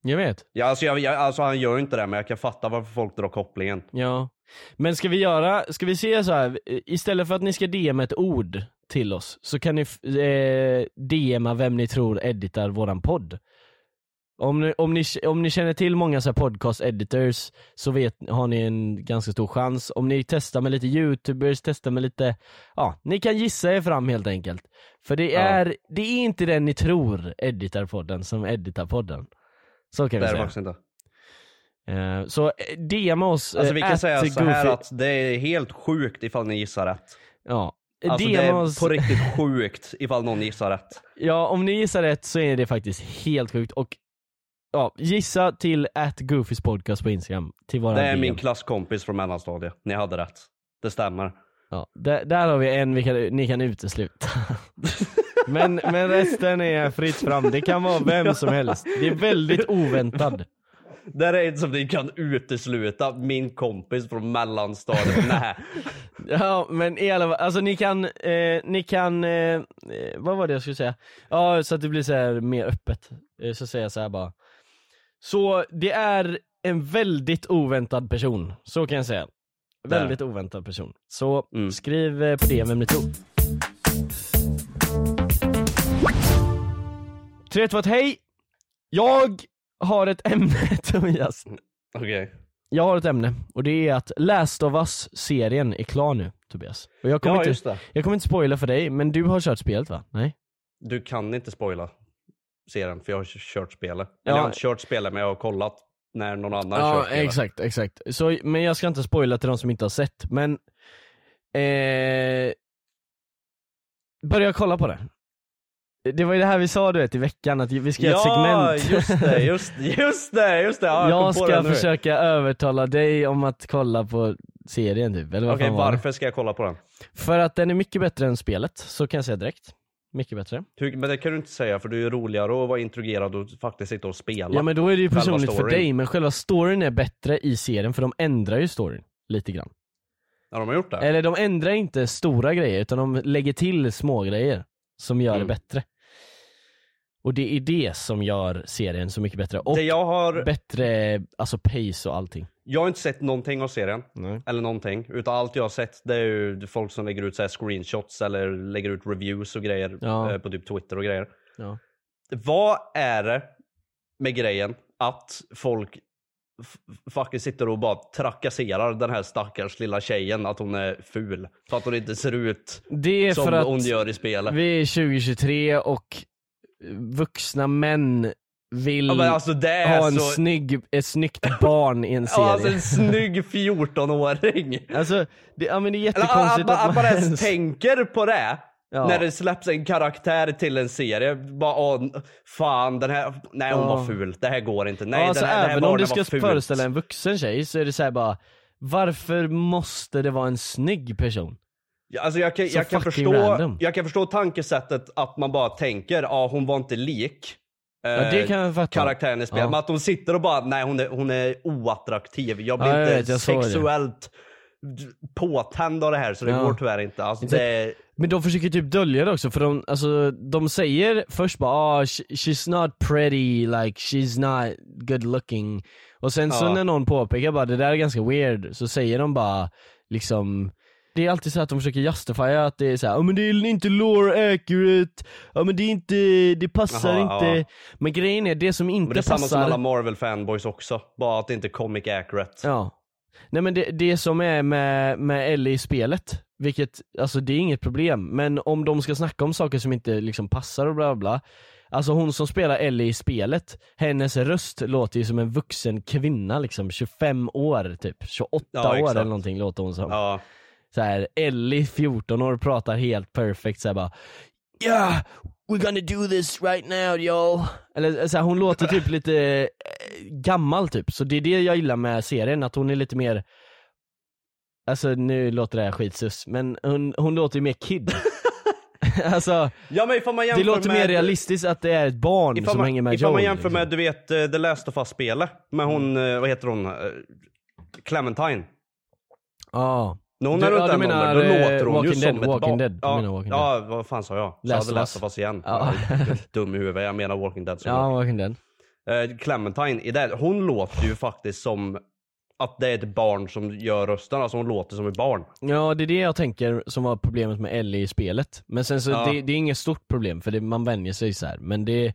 Jag vet. Ja, alltså, jag, jag, alltså han gör ju inte det men jag kan fatta varför folk drar kopplingen. Ja. Men ska vi göra, ska vi se så här istället för att ni ska DM ett ord till oss så kan ni f- eh, DMa vem ni tror editar våran podd. Om ni, om ni, om ni känner till många så här podcast editors så vet, har ni en ganska stor chans. Om ni testar med lite youtubers, testar med lite, ja, ni kan gissa er fram helt enkelt. För det Ja. är, det är inte den ni tror editar podden som editar podden. Så kan Det vi är det säga. faktiskt inte. Eh, Så eh, DM oss, Alltså eh, vi kan at säga så här goofy- att det är helt sjukt ifall ni gissar rätt. Ja. Alltså det DM är oss, på riktigt sjukt ifall någon gissar rätt. ja om ni gissar rätt så är det faktiskt helt sjukt och ja, gissa till at Goofys podcast på Instagram till våran Det är DM. min klasskompis från mellanstadiet. Ni hade rätt. Det stämmer. ja, där, där har vi en vi kan, ni kan utesluta. men, men resten är fritt fram, det kan vara vem som helst. Det är väldigt oväntad. Där är en som ni kan utesluta. Min kompis från mellanstadiet. Nej. Ja men i alla fall, alltså ni kan, eh, ni kan, eh, eh, vad var det jag skulle säga? Ja så att det blir så här mer öppet, eh, så säger jag så här bara Så det är en väldigt oväntad person, så kan jag säga Där. Väldigt oväntad person, så Mm. skriv eh, på det vem ni tror 3, 2, 1, hej! Jag har ett ämne Tobias Okej. Jag har ett ämne, och det är att Last of Us-serien är klar nu Tobias och jag kommer Ja inte just det. jag kommer inte spoila för dig, men du har kört spelet va? Nej? Du kan inte spoila serien för jag har kört spelet. Eller Ja. jag har inte kört spelet men jag har kollat när någon annan kört spelet. exakt, exakt. Så, men jag ska inte spoila till de som inte har sett, men... Eh, börja kolla på det. Det var ju det här vi sa du vet i veckan, att vi ska göra Ja ett segment. just det, just, just det, just det. Ja, jag jag kom på det ska nu. försöka övertala dig om att kolla på serien typ, eller vad Okej fan var det? varför ska jag kolla på den? För att den är mycket bättre än spelet, så kan jag säga direkt. Mycket bättre. Ty- Men det kan du inte säga för det är ju roligare att vara introgerad och faktiskt sitta och spela. Ja men då är det ju Själva personligt för storyn. dig, men själva storyn är bättre i serien för de ändrar ju storyn lite grann. Ja, de har gjort det. Eller de ändrar inte stora grejer utan de lägger till små grejer som gör Mm. det bättre. Och det är det som gör serien så mycket bättre. Och det jag, har, bättre alltså pace och allting. jag har inte sett någonting av serien. Nej. Eller någonting. Utan allt jag har sett det är ju folk som lägger ut så här screenshots eller lägger ut reviews och grejer Ja. eh, på typ Twitter och grejer. Ja. Vad är det med grejen att folk f- fucking sitter och bara trakasserar den här stackars lilla tjejen att hon är ful? För att hon inte ser ut Det är som för att hon gör i spelet. vi är 2023 och vuxna män vill Ja, men alltså det är ha en så... snygg, ett snyggt barn i en serie. Ja, alltså en snygg 14-åring. Alltså, det, ja, men det är Eller att, jättekonstigt att, att man ens ens- tänker på det. Ja. När det släpps en karaktär till en serie. Bara åh, fan den här, nej hon Ja. var ful, det här går inte. Nej ja, alltså den här, det här även om du barnet ska var fult. föreställa en vuxen tjej så är det så här bara Varför måste det vara en snygg person? Ja, Alltså jag kan, Så jag, kan fucking förstå, random. jag kan förstå tankesättet att man bara tänker, ja hon var inte lik. Ja, det eh, kan jag fatta. karaktären i spelet. Ja. Men att hon sitter och bara, nej hon är, hon är oattraktiv. Jag blir Ja, jag inte vet, jag såg det. sexuellt påtänd av det här så det Ja. går tyvärr inte. Alltså, Exakt. det, Men de försöker typ dölja det också för de, alltså, de säger först bara ah, sh- she's not pretty, like she's not good looking Och sen så Ja. när någon påpekar bara det där är ganska weird så säger de bara liksom det är alltid så att de försöker justifiera att det är så här, ja men det är inte lore accurate, ja men det är inte, det passar Jaha, inte ja. Men grejen är det som men inte det är samma som passar alla Marvel fanboys också. Bara att det inte är comic accurate. Ja. Nej men det, det som är med, med Ellie i spelet, vilket, alltså det är inget problem, men om de ska snacka om saker som inte liksom passar och bla bla bla. Alltså hon som spelar Ellie i spelet, hennes röst låter ju som en vuxen kvinna liksom, 25 år typ, 28 Ja, år exakt. eller någonting låter hon som. Ja. Så här, Ellie 14 år pratar helt perfekt såhär bara Yeah, we're gonna do this right now yo Eller så här, hon låter typ lite eh, gammal typ, så det är det jag gillar med serien, att hon är lite mer alltså nu låter det här skitsus, men hon, hon låter ju mer kid. alltså, Ja men ifall man jämför det låter med... mer realistiskt att det är ett barn Ifall som man, hänger med ifall Joel. man jämför liksom. Mm. med, du vet, eh, The Last of Us-spelet. Med hon, eh, vad heter hon? eh, Clementine. Ja. När hon Du- är runt ja, du den menar, åldern, då eh, låter hon ju Walking som Dead, ett Walking barn. Dead. Du Ja, menar Walking ja, vad fan sa jag? Last Last jag of hade Last Us. of Us igen. Ja. Jag är Dum i huvudet, jag menar Walking Dead. Ja, såklart. verkligen den. Eh, Clementine, i det, hon låter ju faktiskt som att det är ett barn som gör rösten. Alltså hon låter som ett barn. Ja, det är det jag tänker som var problemet med Ellie i spelet. Men sen så, Ja. det, det är inget stort problem för det, man vänjer sig så här. Men det,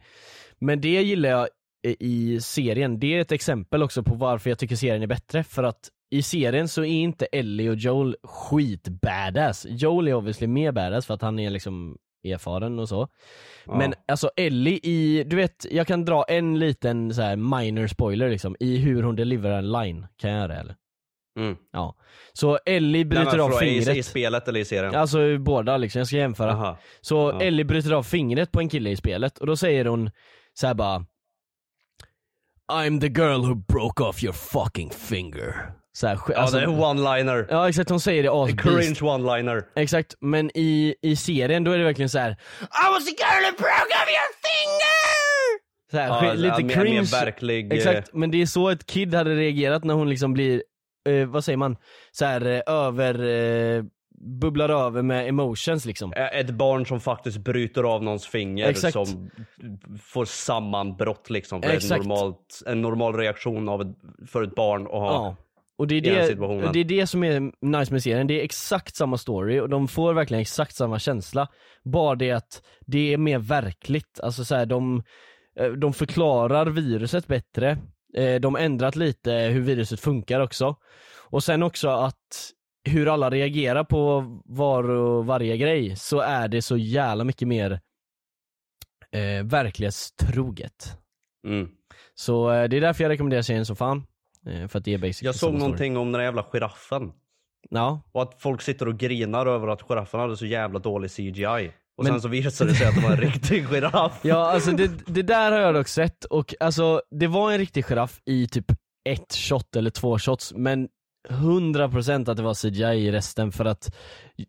men det gillar jag i- i serien. Det är ett exempel också på varför jag tycker serien är bättre. För att i serien så är inte Ellie och Joel skit-badass. Joel är obviously mer badass för att han är liksom erfaren och så. Men alltså Ellie i, du vet, jag kan dra en liten så här minor spoiler liksom, i hur hon deliverar en line. Kan jag göra det eller? Mm. Ja. Så Ellie bryter Nej, men av förlåt, i- fingret. I spelet eller i serien? Alltså i båda liksom, jag ska jämföra. Aha. Så Ellie bryter av fingret på en kille i spelet och då säger hon så här bara I'm the girl who broke off your fucking finger. Så här, sk- Ja, alltså- det är one-liner. ja exakt, hon säger det asbeast. Cringe one-liner. Exakt, men i, i serien då är det verkligen så här. I was the girl who broke off your finger! Så här, Ja, sk- ja, lite mer- cringe. mer verklig, eh, Exakt, men det är så ett kid hade reagerat när hon liksom blir, eh, vad säger man, så här eh, över, eh, bubblar över med emotions liksom. Ä- Ett barn som faktiskt bryter av någons finger Exakt. som får sammanbrott liksom. För ett Exakt. normalt, en normal reaktion av ett, för ett barn att ha. Ja. Och det är den det, situationen. det är det som är nice med serien, det är exakt samma story och de får verkligen exakt samma känsla. Bara det att det är mer verkligt, alltså så här, de, eh, de förklarar viruset bättre, Eh, de har ändrat lite hur viruset funkar också. Och sen också att hur alla reagerar på var och varje grej, så är det så jävla mycket mer eh, verklighetstroget. Mm. Så eh, det är därför jag rekommenderar serien som fan. Eh, För att det är basically Jag samma såg story. någonting om den där jävla giraffen. Ja, Och att folk sitter och grinar över att giraffen hade så jävla dålig CGI. Och Men- sen så visar det sig att det var en riktig giraff. ja alltså det, det där har jag dock sett och alltså det var en riktig giraff i typ ett shot eller två shots men 100% att det var CGI i resten för att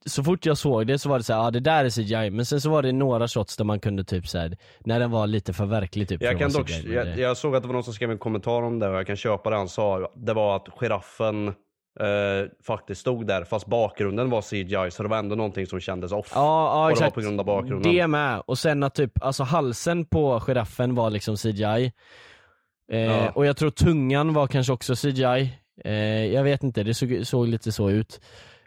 så fort jag såg det så var det så här, ja ah, det där är CGI men sen så var det några shots där man kunde typ såhär, när den var lite för verklig typ. för Jag, att kan vara dock, CGI, men jag, det- jag såg att det var någon som skrev en kommentar om det och jag kan köpa det han sa. Det var att giraffen eh, faktiskt stod där fast bakgrunden var CGI så det var ändå någonting som kändes off. Ja, ja Och det var exakt. på grund av bakgrunden. Det med. Och sen att typ, alltså halsen på giraffen var liksom CGI. Eh, Ja. Och jag tror tungan var kanske också CGI. Eh, jag vet inte, det såg, såg lite så ut.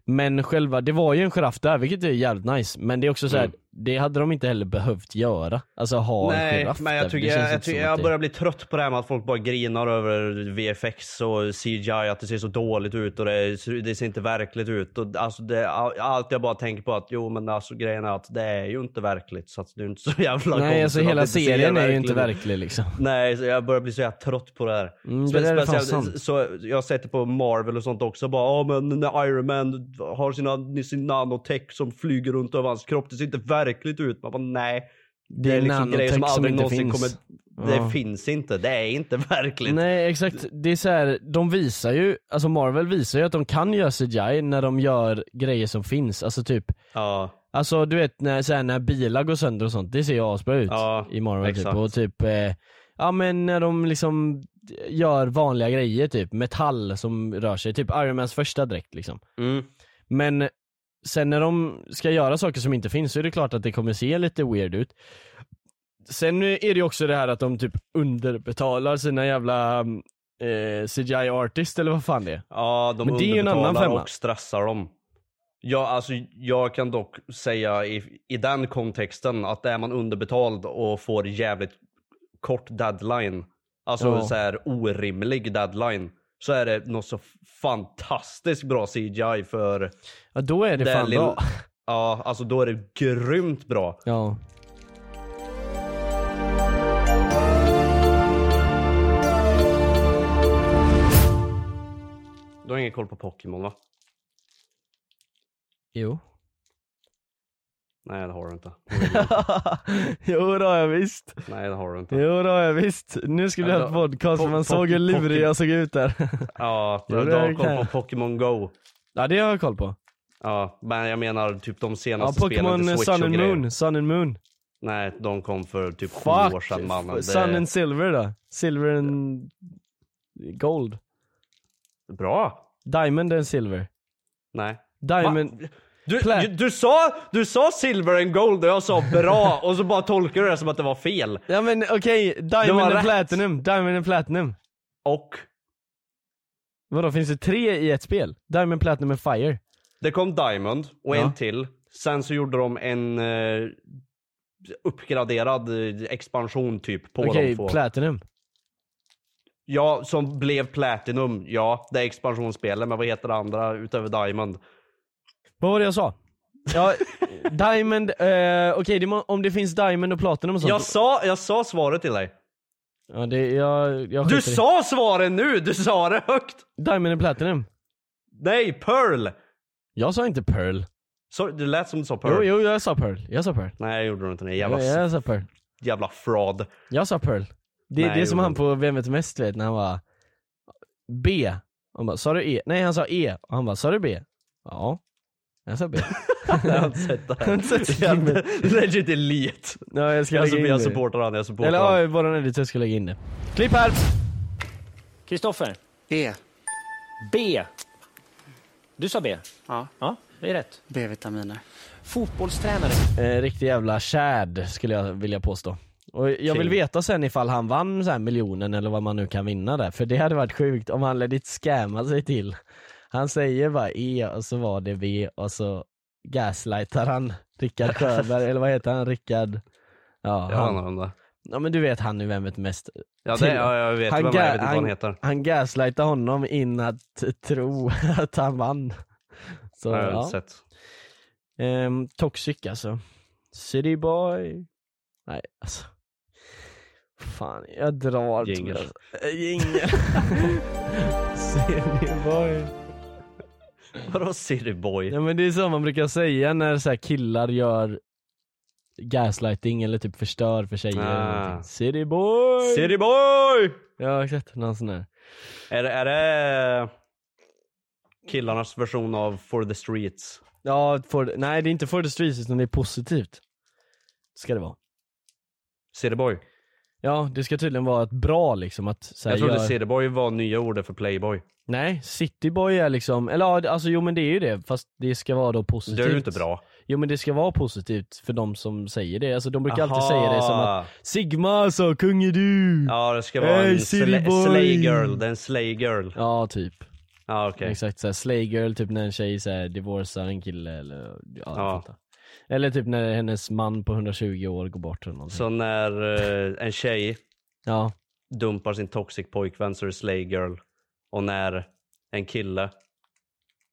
Men själva, det var ju en giraff där vilket är jävligt nice. Men det är också så här, Mm. det hade de inte heller behövt göra. Alltså ha en Nej, giraff men där, jag, tycker, det känns jag, jag, inte som tycker, att jag det- börjar bli trött på det här med att folk bara grinar över VFX och CGI, att det ser så dåligt ut och det, ser- det ser inte verkligt ut. Och alltså det, all- allt jag bara tänker på att jo men alltså grejen är att det är ju inte verkligt så att det är inte så jävla Nej alltså konstigt att det hela inte ser serien är ju verkligt inte ut. verklig liksom. Nej, så jag börjar bli så jävla trött på det här. Mm, Spe- det där är fan sant. så jag har sett det på Marvel och sånt också. Bara, "Ja, men när Iron Man har sina, sin nanotech som flyger runt över hans kropp. Det ser inte verkligt ut. Man bara, nej. Det, är är liksom nanotech grejer som som aldrig inte någonsin finns. kommer... Det Ja. finns inte. Det är inte verkligt. Nej exakt, det är så här, de visar ju, alltså Marvel visar ju att de kan göra CGI när de gör grejer som finns, alltså typ Ja, Alltså du vet när, så här, när bilar går sönder och sånt, det ser ju asbra ut Ja, i Marvel typ. exakt. Och typ, eh, ja men när de liksom gör vanliga grejer typ, metall som rör sig, typ Iron Mans första dräkt liksom. mm. Men sen när de ska göra saker som inte finns så är det klart att det kommer se lite weird ut. Sen är det ju också det här att de typ underbetalar sina jävla eh, CGI-artist eller vad fan det är. ja de Men det är ju en annan underbetalar femma. och stressar dem. Ja, alltså, jag kan dock säga i, i den kontexten att är man underbetald och får jävligt kort deadline, alltså Ja. så här orimlig deadline, så är det något så fantastiskt bra CGI för Ja då är det, det fan lill- bra. Ja, alltså då är det grymt bra. Ja. Du har ingen koll på Pokémon va? Jo. Nej det har du inte. jo då har jag visst. Nej det har du inte. Jo då har jag visst. Nu skulle vi ha ett Alltså, podcast för po- man såg hur po- lurig Pokémon- jag såg ut där. Ja, Jo, du det har koll kan på jag. Pokémon Go. Ja det har jag koll på. Ja, men jag menar typ de Ja senaste spelen Pokémon till eh, Switch Sun och and grejer. Moon, Sun and Moon. Nej, de kom för typ sju Fuck. år sedan mannen. Det Sun and Silver då? Silver and Gold. Bra. Diamond and Silver. Nej. Diamond. Va? Du, Pla- du, du, sa, du sa silver and gold och jag sa bra och så bara tolkar du det som att det var fel. Ja men okej, Du Diamond har and rätt. Platinum. Diamond and Platinum. Och Vadå finns det tre i ett spel? Diamond, Platinum and Fire. det kom Diamond och Ja. en till. Sen så gjorde de en eh, uppgraderad eh, expansion typ på Okej, de två. Platinum. ja, som blev Platinum. Ja, det är expansionsspelet. Men vad heter det andra utöver Diamond? Vad var det jag sa? Ja, Diamond, eh, okej det må- om det finns Diamond och Platinum och sånt. Jag sa, jag sa svaret till dig. Ja, det, jag, jag Du skiter i- sa svaren nu! Du sa det högt! Diamond and Platinum. Nej, Pearl! Jag sa inte Pearl. Så, det lät som du sa Pearl. Jo, jo jag sa Pearl. Jag sa Pearl. Nej, jag gjorde du inte. Nej, jävla, Jag, jag sa Pearl. jävla fraud. Jag sa Pearl. Det är Nej, det som gjorde han du på Vem vet mest vet när han var B. Han bara, sa du E? Nej han sa E. Och han bara, sa du B? Ja. Jag sa B. Jag har inte sett det Har du inte sett här. Jävla- Legit elite. ja, jag ska Jag, lägga supp- in jag det. supportar han, jag supportar Eller han. ja, våran editor ska lägga in det. Klipp här! Kristoffer, B. B. Du sa B? Ja. Ja, det är rätt. B-vitaminer. Fotbollstränare. Eh, riktig jävla shad skulle jag vilja påstå. Och jag vill King. veta sen ifall han vann så här miljonen eller vad man nu kan vinna där. För det hade varit sjukt om han legit scammade sig till. Han säger bara E och så var det V och så gaslightar han Rickard Sjöberg, eller vad heter han? Rickard? Ja, Jag han, anar om det. ja men du vet han nu Vem vet mest? Ja, Till- det, ja, jag vet vem det är, jag vet inte vad han heter. han gaslightar honom in att tro att han vann. Så, Jag har ja. inte sett. Ehm, toxic alltså. City boy. Nej alltså. Fan, jag drar tror Jingel. jag. Eh, Jingel. City boy. Vadå City Boy? Ja men det är så man brukar säga när så här killar gör gaslighting eller typ förstör för tjejer eller Ah. någonting. City boy. City Boy! Ja exakt, någon sån där. Är, det- är det killarnas version av For the Streets? Ja, for, nej det är inte for the streets utan det är positivt. Ska det vara. City Boy? Ja, det ska tydligen vara ett bra liksom att så här, Jag trodde gör- City Boy var nya ordet för Playboy. Nej, cityboy är liksom, eller ja, alltså jo men det är ju det, fast det ska vara då positivt. Det är ju inte bra. Jo men det ska vara positivt för de som säger det, alltså de brukar alltid säga det som Aha. att Sigma alltså, kung är du! Ja, det ska vara Hey, en City sla- Boy! slay girl. Det är en slay girl. Ja, Ja, typ. okej. Exakt såhär slay girl, typ när en tjej såhär divorcear en kille eller ja, jag Ja. fattar. Eller typ när hennes man på 120 år går bort eller någonting. Så när eh, en tjej Ja, dumpar sin toxic pojkvän så är det slay girl. Och när en kille,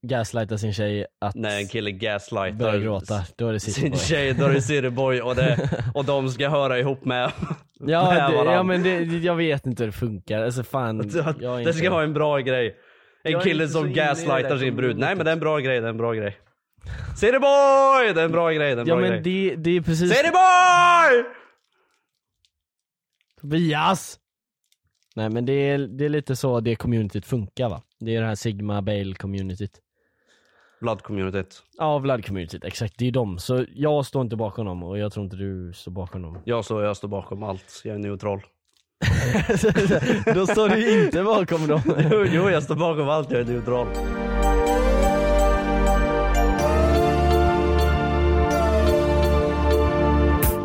gaslightar sin tjej att när en kille gaslightar börja gråta, då är det sin cityboy. tjej, då är det city boy och, det, och de ska höra ihop med, Ja, med det, varandra. ja men det, det- jag vet inte hur det funkar, alltså fan. jag är Det inte- ska vara en bra grej. En Jag är kille inte så som inne i det där gaslightar sin brud. Nej men det är en bra grej, det är en bra grej. City boy! Det är en bra grej, det är en Ja bra men grej. det, det är precis City boy! Tobias! Nej men det är, det är lite så det communityt funkar va? Det är det här Sigma Bale communityt. Blood-communityt. Ja, Vlad communityt, exakt. Det är de. Så jag står inte bakom dem och jag tror inte du står bakom dem. Jag står, jag står bakom allt. Jag är neutral. Då står du inte bakom dem. Jo, jo, jag står bakom allt. Jag är neutral.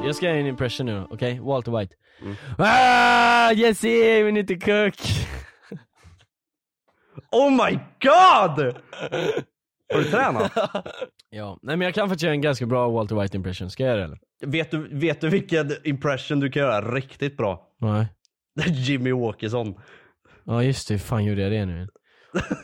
Jag ska göra en impression nu, okej? Walter White. Ah, Jesse, we need to Mm. cook! Oh my god! Har du tränat? Ja, nej men jag kan faktiskt göra en ganska bra Walter White impression. Ska jag göra det eller? Vet du, vet du vilken impression du kan göra riktigt bra? Nej. Det är Jimmy Åkesson. Ja just det, hur fan gjorde jag det nu?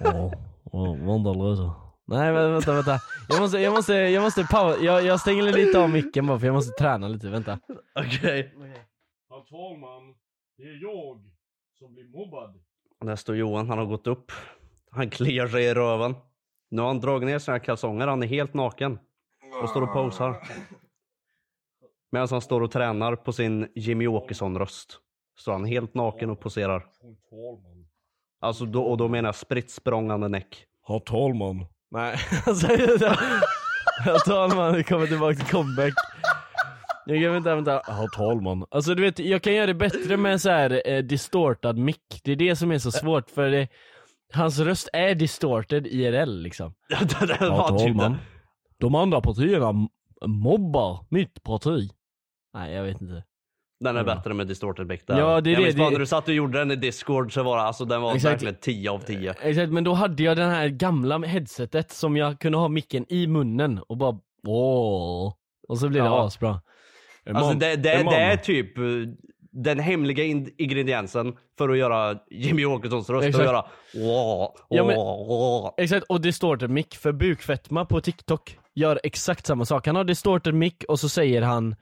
Åh, oh, Wanderlösa. Nej vä- vänta, vänta. Jag måste, jag måste, jag måste pausa. Jag, jag stänger lite av micken bara för jag måste träna lite, vänta. Okej. Herr talman, det är jag som blir mobbad. Där står Johan, han har gått upp. Han kliar sig i röven. Nu har han dragit ner sina kalsonger, han är helt naken. Och står och posar. Medan han står och tränar på sin Jimmy Åkesson-röst. Står han helt naken och poserar. Alltså, då, och då menar jag spritt språngande näck. Herr talman, Nej, alltså, Herr talman, vi kommer tillbaka till comeback. Jag kan inte använda herr talman. Alltså du vet, jag kan göra det bättre med en så här eh, distortad mick. Det är det som är så svårt för det, hans röst är distorted IRL liksom. Ja, det, det Herr var typ talman, det. de andra partierna m- mobbar mitt parti. Nej jag vet inte. Den är bättre med distorted back där. Mm. Ja, det är jag det, minns bara det- när du satt och gjorde den i discord så var det, alltså den var Exakt. Eh, verkligen 10 av 10. Exakt, men då hade jag den här gamla headsetet som jag kunde ha micken i munnen och bara åh. Och så blir det Ja. asbra. Är Alltså mam- det, det, är mam- det är typ eh, den hemliga in- ingrediensen för att göra Jimmy Åkessons röst. Exakt. Att göra åh, Ja, men- åh, åh. Exakt, och distorted mic för bukfetma på TikTok gör exakt samma sak. Han har distorted mic och så säger han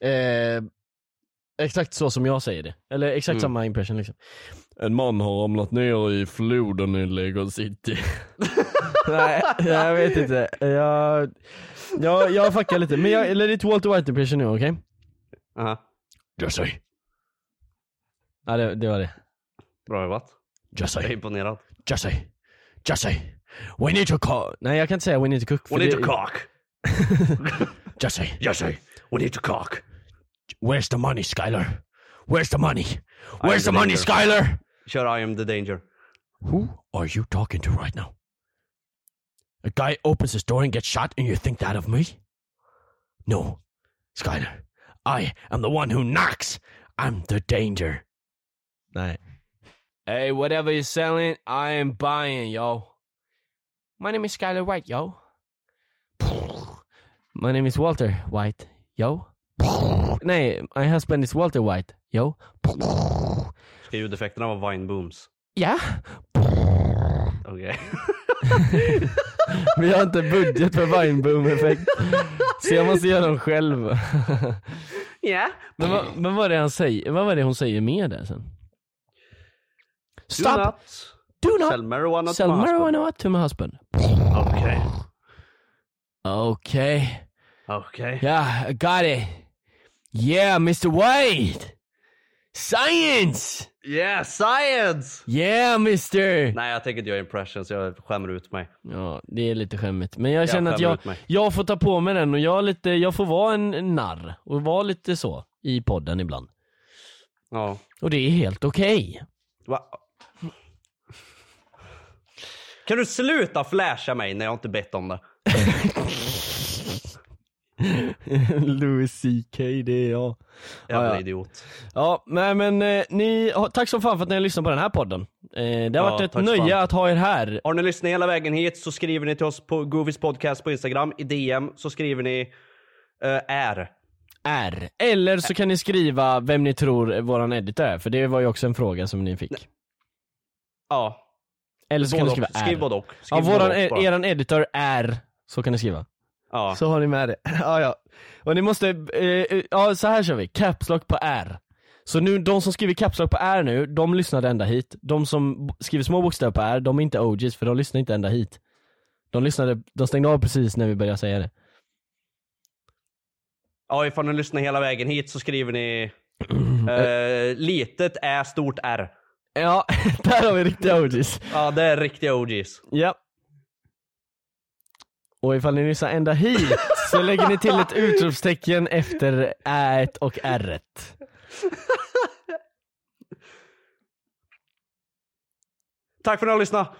eh, exakt så som jag säger det. Eller exakt Mm. samma impression liksom. En man har ramlat ner i floden i Lego City. Nej, jag vet inte. Jag, jag, jag fuckar lite. Men jag, eller det är ett Walter White impression nu, okej? Aha. Just say. Ja, det, det var det. Bra jobbat. Just Jag är say. imponerad. Just say. Just say. We need to cook. Nej, jag kan inte säga we need to cook. för We need det- to cock. Just say. Yes, I. We need to cock. Where's the money, Skylar? Where's the money? Where's the money, Skylar? Kör I am the danger. Who are you talking to right now? A guy opens his door and gets shot, and you think that of me? No, Skylar. I am the one who knocks. I'm the danger. Nej. Hey, whatever you're selling, I am buying, yo. My name is Skylar White, yo. My name is Walter White, yo. Nej, my husband is Walter White, yo. Ska ljudeffekterna vara vine booms? Ja. Okej. Vi har inte budget för vineboom-effekt. Så jag måste göra dem själv. Ja. Men vad, men vad, är det han säger, vad var det hon säger mer där sen? Do Stop! not Do not sell marijuana sell to my husband. marijuana to my husband. Okej. Okay. Okej. Yeah, I got it. Yeah, Mr White! Science! Yeah, science! Yeah, Mr! Nej, jag tänker inte göra impressions. Jag skämmer ut mig. Ja, det är lite skämmigt. Men jag känner att skämmer jag, ut mig. jag får ta på mig den och jag, är lite, jag får vara en en narr och vara lite så i podden ibland. Ja. Och det är helt okej. Va? Kan du sluta flasha mig när jag inte bett om det? Louis CK, det är jag. Jävla Ja, ja. idiot. Ja, nej men eh, ni, ha- tack som fan för att ni har lyssnat på den här podden. Eh, det har Ja, varit ett tack som nöje fan. att ha er här. Har ni lyssnat hela vägen hit så skriver ni till oss på Goofys podcast på Instagram. I DM så skriver ni eh, R. Är. Eller så kan ni skriva vem ni tror våran edit är, för det var ju också en fråga som ni fick. Ja. Eller så kan ni både skriva och. är. Skriv både och. Ja, Skriv både våran, och bara. e- eran editor är, så kan ni skriva. ja. Så har ni med det. ja, ja. Och ni måste, eh, eh, ja så här kör vi, caps lock på R. Så nu, de som skriver caps lock på R nu, de lyssnade ända hit. De som b- skriver små bokstäver på R, de är inte OGs för de lyssnar inte ända hit. De lyssnade, de stängde av precis när vi började säga det. ja, ifall ni lyssnar hela vägen hit så skriver ni eh, litet är stort R. Ja, där har vi riktiga OGs. Ja, det är riktiga OGs. Ja. Och ifall ni lyssnar ända hit så lägger ni till ett utropstecken efter Ä och R. Tack för att ni har lyssnat.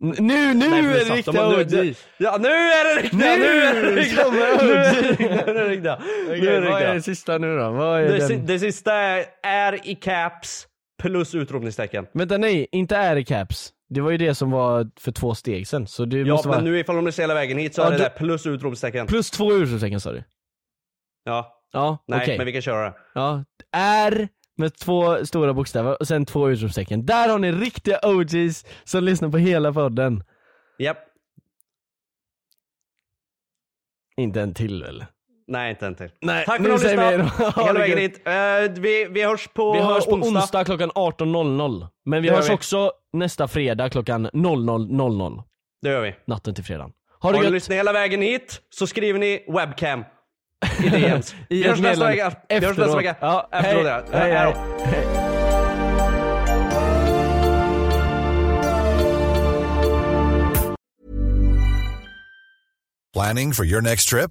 Nu, nu Nej, är det sant. riktiga De- nu- OGs! Ja, nu är det riktiga! Nu, är det riktiga! Nu kommer är det OGs. riktiga! Nu är det riktiga! Nu är det vad är riktiga. det sista nu då? Vad är Det, den? si- det sista är, är i caps plus utropningstecken. Vänta nej, inte är i caps. Det var ju det som var för två steg sen, så det Ja måste men vara... nu ifall de lyssnar hela vägen hit så Ja, är det du- där plus utropstecken. Plus två utropstecken sa du? Ja, Ja, nej okej. men vi kan köra det. Ja, är med två stora bokstäver och sen två utropstecken. Där har ni riktiga OGs som lyssnar på hela podden. Japp. Inte en till väl? Nej inte en till. Nej, Tack för nu att ni har säger vi lyssnat. hej då. Ha Hela det vägen gött. hit. Eh, vi, vi hörs på, Vi hörs på onsdag. onsdag, klockan 18.00. Men vi Det gör hörs vi. också nästa fredag klockan 00.00. Det gör vi. Natten till fredagen. Ha det Har ni gött! lyssnat hela vägen hit så skriver ni webcam. I DMs. I vi hörs ett nästa meddelande vecka. Vi hörs nästa efteråt. vecka. Ja, Efteråt, hej. ja. Hej, hej. då. Planning for your next trip?